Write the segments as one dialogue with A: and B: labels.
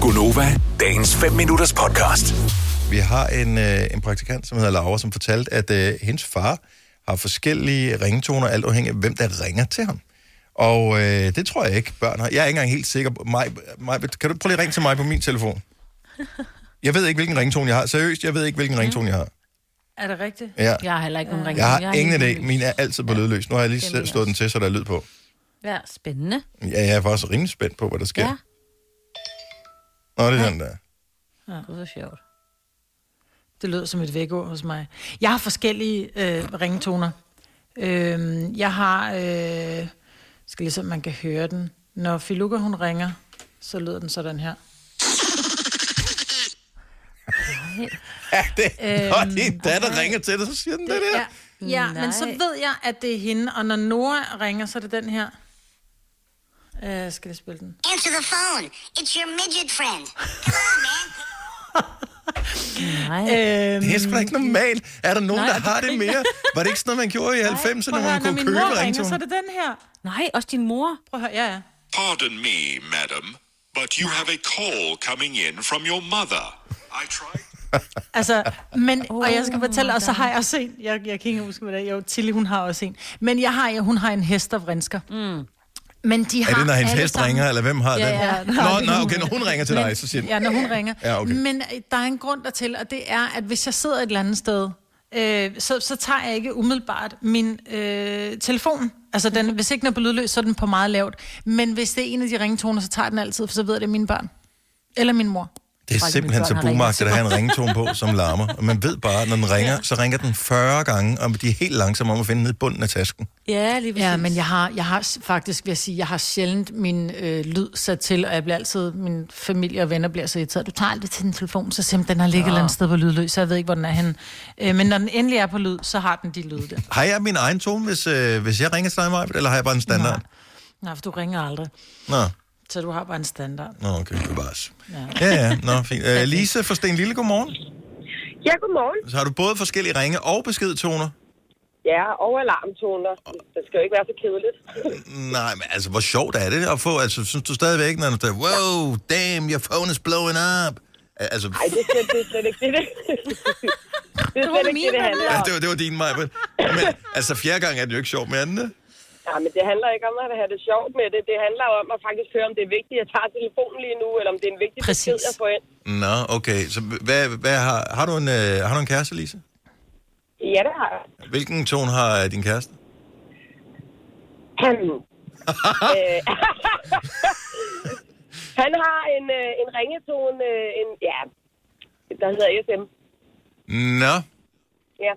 A: Gunova, dagens 5 minutters podcast.
B: Vi har en, øh, en praktikant, som hedder Laura, som fortalte, at øh, hendes far har forskellige ringetoner, alt afhængig af, hvem der ringer til ham. Og øh, det tror jeg ikke, børn har. Jeg er ikke engang helt sikker. på- Maj, Maj, kan du prøve lige at ringe til mig på min telefon? Jeg ved ikke, hvilken ringtone jeg har. Seriøst, jeg ved ikke, hvilken ringtone jeg har.
C: Er det rigtigt?
B: Ja.
D: Jeg har heller ikke nogen
B: Jeg
D: ringtone.
B: har ingen idé. Min er altid på lydløs. Nu har jeg lige
D: er
B: selv
D: min
B: slået den til, så der er lyd på.
D: Ja, spændende.
B: Ja, jeg er faktisk rimelig spændt på, hvad der sker.
D: Ja.
B: Nå, det er den der.
D: Gud, hvor sjovt.
C: Det lød som et vækord hos mig. Jeg har forskellige øh, ringetoner. Øh, jeg har... Øh, skal lige se, om man kan høre den. Når Filuka, hun ringer, så lyder den sådan her.
B: Ja, det. Når din datter ringer til dig, Øhm, så siger den det der.
C: Ja, ja men så
D: Nej.
C: ved jeg, at det er hende. Og når Nora ringer, så er det den her. Øh, skal jeg spille den?
E: Answer the phone. It's your midget friend.
D: Nej.
C: Øh,
B: Det er sgu da ikke normalt. Er der nogen, Nej,
D: Nej,
B: der har det mere? Var det ikke sådan noget, man gjorde i 90'erne, hvor
C: prøv
B: man
C: at høre, når
B: kunne
C: min
B: købe
C: mor ringer, så er
B: ringtone?
C: det den her.
D: Nej, også din mor.
C: Prøv at høre, ja, ja.
F: Pardon me, madam, but you have a call coming in from your mother. I tried.
C: Altså, men, og jeg skal fortælle, og så har jeg også en, jeg, jeg kan ikke huske, hvad det er, jo, Tilly, hun har også en, men jeg har, jeg, hun har en hest og vrinsker. Mm. Men de har
B: Er det, når hendes
C: alle
B: hest
C: sammen-
B: ringer, eller hvem har den?
C: ja.
B: Nå, nej, okay, når hun ringer til dig, så siger den,
C: Ja, når hun ringer. Mm.
B: Ja, okay.
C: Men øh, der er en grund dertil, og det er, at hvis jeg sidder et eller andet sted, øh, så, så tager jeg ikke umiddelbart min øh, telefon. Altså, den, hvis ikke den er på lydløs, så er den på meget lavt. Men hvis det er en af de ringetoner, så tager jeg den altid, for så ved jeg, det er mine børn. Eller min mor.
B: det er
D: mine
B: simpelthen
D: børn
B: så
D: har
B: bumagtigt
D: ringet
B: at have en ringetone på, som larmer. Og man ved bare, at når den ringer, så ringer den 40 gange, og de er helt langsomme om at finde ned i bunden af tasken.
D: Ja, lige præcis.
C: Ja, men jeg har, jeg har s- faktisk, vil jeg sige, jeg har sjældent min øh, lyd sat til, og jeg bliver altid, min familie og venner bliver så irriteret. Du tager aldrig til din telefon, så simpelthen den har ligget ja. et eller andet sted på lydløs, så jeg ved ikke, hvor den er henne. Øh, men når den endelig er på lyd, så har den de lyde der.
B: Har jeg min egen tone, hvis, øh, hvis jeg ringer til dig, Maja, eller har jeg bare en standard?
C: Nej, for du ringer aldrig,
B: Nå,
C: så du har bare en standard.
B: nå okay, det var os. Ja, ja, nå, fint. Øh, Lise fra Sten Lille, godmorgen.
G: Ja, godmorgen.
B: Så har du både forskellige ringe og beskedtoner?
G: Ja, og alarmtoner. Det skal jo ikke være så kedeligt.
B: Nej, men altså, hvor sjovt er det at få? Altså, synes du stadigvæk, når du siger, wow, damn, your phone is blowing up? Al- Altså,
G: Ej, det er slet, det er slet ikke det, det. det er slet ikke det, det handler
B: ja,
G: om.
B: det, var, det var din mig, men, men altså, fjerde gang er det jo ikke sjovt med andet.
G: Ja, men det handler ikke om at have det sjovt med det. Det handler om at faktisk høre, om det er vigtigt, at jeg tager telefonen lige nu, eller om det er en vigtig
C: Præcis.
G: besked, jeg får ind.
B: Nå, okay, så hvad, hvad har, har, du en, øh, har du en kæreste, Lise?
G: Ja, det har jeg.
B: Hvilken tone har øh, din kæreste?
G: Han, øh, han har en, øh, en ringetone, øh, en, ja, der hedder SM.
B: Nå,
G: Ja.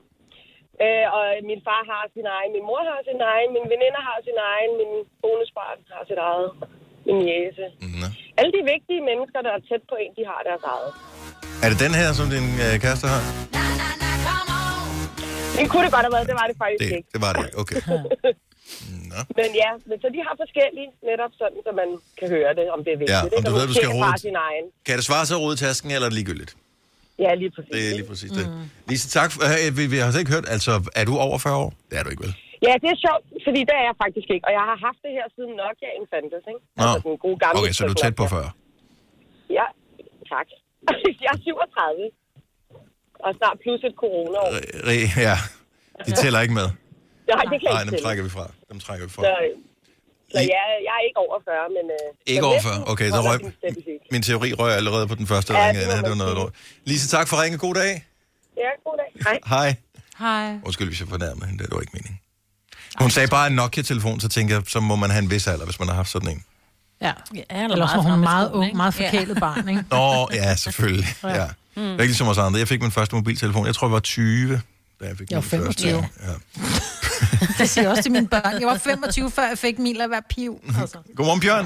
G: Øh, og min far har sin egen, min mor har sin egen, min veninder har sin egen, min bonusbarn har sit eget, min jæse.
B: nå.
G: Alle de vigtige mennesker, der er tæt på en, de har deres eget.
B: Er det den her, som din øh, kæreste har?
G: Det kunne det godt have været, det var det faktisk
B: Det,
G: ikke.
B: det var det ikke, okay.
G: Men ja, men så de har forskellige, netop sådan, så man kan høre det, om det er vigtigt.
B: Ja, om
G: ikke?
B: du
G: Og
B: ved,
G: hun
B: du skal
G: kender
B: rode
G: bare
B: til-
G: sin egen.
B: Kan det svare sig at rode i tasken, eller er det ligegyldigt?
G: Ja, lige præcis.
B: Det er
G: ikke?
B: lige præcis det. Lise, tak. For, øh, vi, vi har slet ikke hørt, altså, er du over 40 år? Det er du ikke, vel?
G: Ja, det er sjovt, fordi det er jeg faktisk ikke. Og jeg har haft det her siden Nokia'en fandtes, ikke?
B: Nå.
G: Altså den gode gamle
B: Okay, så er du tæt på
G: Nokia.
B: 40.
G: Ja, tak. jeg er 37. Og snart plus et corona år.
B: Øh, Re, ja, de tæller ikke med.
G: Nej, det kan
B: Nej,
G: jeg
B: dem
G: ikke tælle.
B: trækker vi fra. Dem trækker vi fra.
G: Så, øh, så
B: I-
G: jeg, jeg er ikke over 40, men... Øh,
B: Ikke
G: men
B: over
G: næsten
B: 40. Okay, så
G: holder
B: røg...
G: din statistik.
B: Min teori røg allerede på den første
G: Ja,
B: ringe.
G: det må
B: Ja, det var
G: man
B: noget
G: sige.
B: lort. Lise, tak for ringen. God dag.
G: Ja, god dag. Hej.
B: Hej.
C: Hej.
B: Undskyld, hvis jeg fornærmer hende. Det var ikke meningen. Hun sagde bare en Nokia-telefon, så tænker jeg, så må man have en vis alder, hvis man har haft sådan en.
C: Ja.
D: Ja, eller
C: Eller også var
D: meget
C: hun
D: fremme i
C: meget
D: skoene,
C: ung,
D: ikke?
C: meget
D: Ja.
C: forkælet barn, ikke?
B: Nå, ja, selvfølgelig. Ja. Det er ikke ligesom os andre. Jeg fik min første mobiltelefon. Jeg tror, jeg var 20, da jeg fik min
C: Jeg var
B: første.
C: 25.
B: Ja.
C: Det siger jeg også til mine børn. Jeg var 25, før jeg fik min at være piv. Altså.
B: Godmorgen, Bjørn.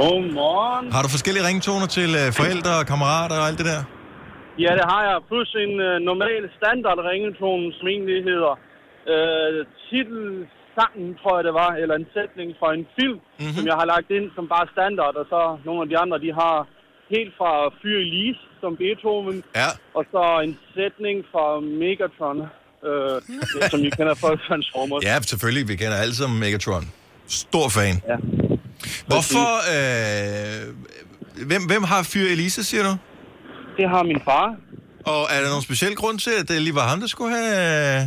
H: Godmorgen.
B: Har du forskellige ringtoner til øh, forældre og kammerater og alt det der?
H: Ja, det har jeg. Plus en øh, normal standard ringetone, som egentlig hedder øh, titelsangen, tror jeg det var, eller en sætning fra en film,
B: Mhm.
H: mm-hmm. som jeg har lagt ind som bare standard, og så nogle af de andre, de har helt fra Fyr Elise, som Beethoven,
B: Ja.
H: og så en sætning fra Megatron, øh, som I kender fra Transformers.
B: Ja, selvfølgelig. Vi kender alle sammen Megatron. Stor fan.
H: Ja.
B: Hvorfor, øh, Hvem, hvem har fyr Elisa, siger du?
H: Det har min far.
B: Og er der nogen speciel grund til, at det lige var ham, der skulle have... øh,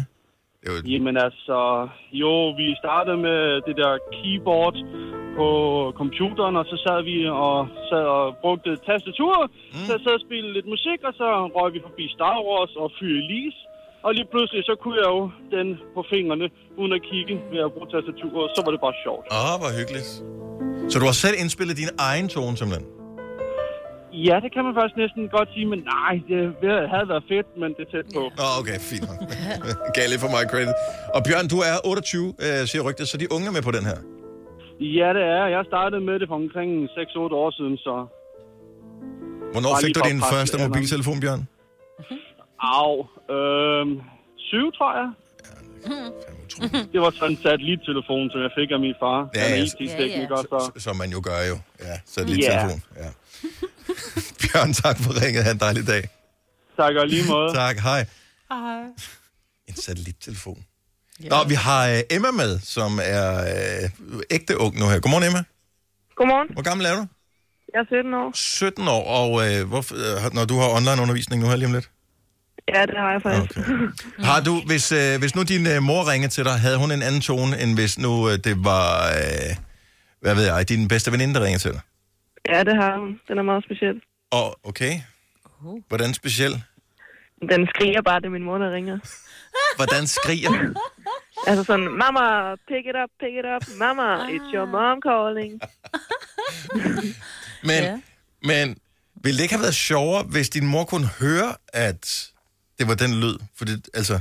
B: Det var,
H: Jamen altså, jo, vi startede med det der keyboard på computeren, og så sad vi og, sad og brugte et tastatur, mm. så sad og spillede lidt musik, og så røg vi forbi Star Wars og Fyre Elise. Og lige pludselig, så kunne jeg jo den på fingrene, uden at kigge ved at bruge tastaturet, så var det bare sjovt.
B: Åh, oh, hvor hyggeligt. Så du har selv indspillet din egen tone, simpelthen?
H: Ja, det kan man faktisk næsten godt sige, men nej, det havde været fedt, men det er tæt på.
B: Nå, oh, okay, fint nok. Gav lidt for meget credit. Og Bjørn, du er 28, øh, siger rygtet, så de unge er med på den her.
H: Ja, det er. Jeg startede med det for omkring 6-8 år siden, så
B: Hvornår
H: Bare
B: fik
H: lige
B: du
H: for at
B: din
H: presse
B: første
H: alderen.
B: mobiltelefon, Bjørn?
H: Au. Øhm, syv, tror jeg.
B: Fandme utroligt.
H: Det var sådan en satellittelefon, som jeg fik af min far.
B: Ja,
H: Ja, Han er
B: ja.
H: IT-tekniker, ja, ja. så...
B: Som man jo gør jo. Ja, så lidt telefon. Ja. Bjørn, tak for ringet. Ha' en dejlig dag.
H: Tak og lige måde.
B: Tak, hej. En satellittelefon. Nå, vi har øh, Emma med, som er øh, ægte ung nu her. Godmorgen, Emma.
G: Godmorgen,
B: Hvor gammel er du?
G: jeg er 17 år.
B: 17 år, og øh, hvorfor, øh, når du har online-undervisning nu her lige om lidt?
G: Ja, det har jeg faktisk.
B: Okay. Har du, hvis, øh, hvis nu din øh, mor ringede til dig, havde hun en anden tone, end hvis nu øh, det var, øh, hvad ved jeg, din bedste veninde, der ringede til dig?
G: Ja, det har hun. Den er meget speciel.
B: Og okay, hvordan speciel?
G: Den skriger bare, det er min mor, der ringer.
B: Hvordan skriger
G: Altså sådan, mamma, pick it up, pick it up, mamma, it's your mom calling.
B: Men, ja.
D: Ja.
B: men ville det ikke have været sjovere, hvis din mor kunne høre, at det var den lyd? For det, altså,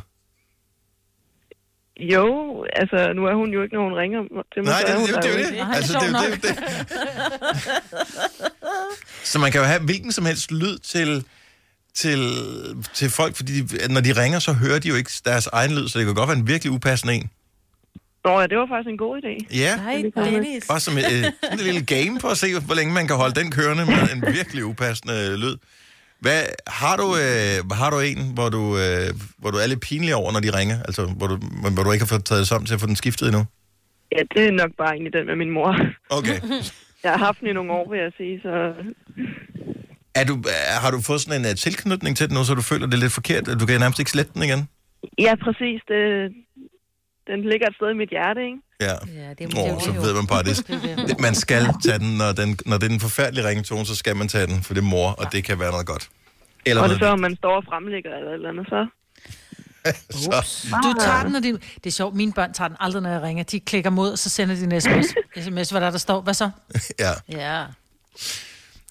G: Jo, altså, nu er hun jo ikke, når hun ringer til mig.
B: nej,
G: så
B: det,
G: er hun
B: det, det, det,
G: der
B: er jo
G: jo ikke.
B: det. Altså, det,
C: sjovt
B: er jo- det, det, det. Så man kan jo have hvilken som helst lyd til, til, til folk, fordi de, når de ringer, så hører de jo ikke deres egen lyd, så det kan godt være en virkelig upassende en.
G: Nå ja, det var faktisk en god idé.
B: Ja,
D: Nej, Dennis.
B: bare som et, øh, sådan et lille game for at se, hvor længe man kan holde den kørende med en virkelig upassende øh, lyd. Hvad, har, du, øh, har du en, hvor du, øh, hvor du er lidt pinlig over, når de ringer? Altså, hvor du, men hvor du ikke har fået taget sammen til at få den skiftet endnu?
G: Ja, det er nok bare egentlig den med min mor.
B: Okay.
G: Jeg har haft den i nogle år, vil jeg sige, så...
B: Er du, er, har du fået sådan en uh, tilknytning til den nu, så du føler, det er lidt forkert, at du kan nærmest ikke slette den igen?
G: Ja, præcis. Det, den ligger et sted i mit hjerte, ikke?
B: Ja.
D: Ja, det er
B: Åh, oh, så ved man bare det. det. Man skal tage den når, den, når det er den forfærdelige ringetone, så skal man tage den, for det er mor, og det kan være noget godt. Eller
G: Og det er
B: noget,
G: så, om man står og fremlægger eller et eller andet, så...
C: Du tager den, når de... Det er sjovt, mine børn tager den aldrig, når jeg ringer. De klikker mod, og så sender de en sms, sms hvor der, der står. Hvad så?
B: ja,
D: Ja.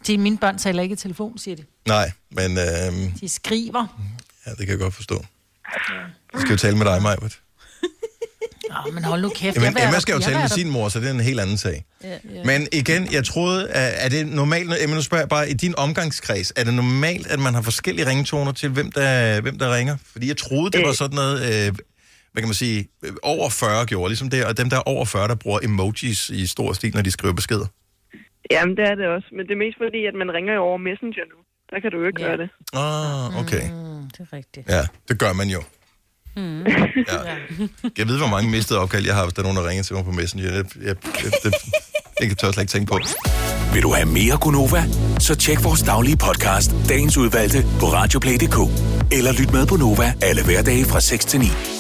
C: De, mine børn taler ikke i telefon, siger de.
B: nej, men øh,
C: De skriver.
B: ja, det kan jeg godt forstå. Jeg skal jo tale med dig, Majbert.
C: Nå, men hold nu kæft. jeg
B: Jamen,
C: vil-
B: Emma skal jo
C: jeg
B: tale
C: vil-
B: med sin mor, så det er en helt anden sag.
D: ja.
B: Men igen, jeg troede, er er det normalt, Emma, nu spørger jeg bare, i din omgangskreds, er det normalt, at man har forskellige ringetoner til, hvem der, hvem der ringer? Fordi jeg troede, det var sådan noget, øh, hvad kan man sige, øh, over 40 gjorde, ligesom det, og dem, der er over 40, der bruger emojis i stor stil, når de skriver beskeder.
G: Jamen, det er det også. Men det er mest fordi, at man ringer jo over Messenger nu. Der kan du jo ikke
D: Ja.
G: gøre det.
B: Ah, okay.
D: Mm, det er rigtigt.
B: Ja, det gør man jo. Mm. Ja. Jeg ved, hvor mange mistede opkald jeg har, hvis der er nogen, der ringer til mig på Messenger. Jeg, jeg, jeg, det, det tør jeg slet ikke tænke på.
A: Vil du have mere Gunova? Så tjek vores daglige podcast, dagens udvalgte, på radioplay.dk. Eller lyt med på Nova alle hverdage fra 6 til 9.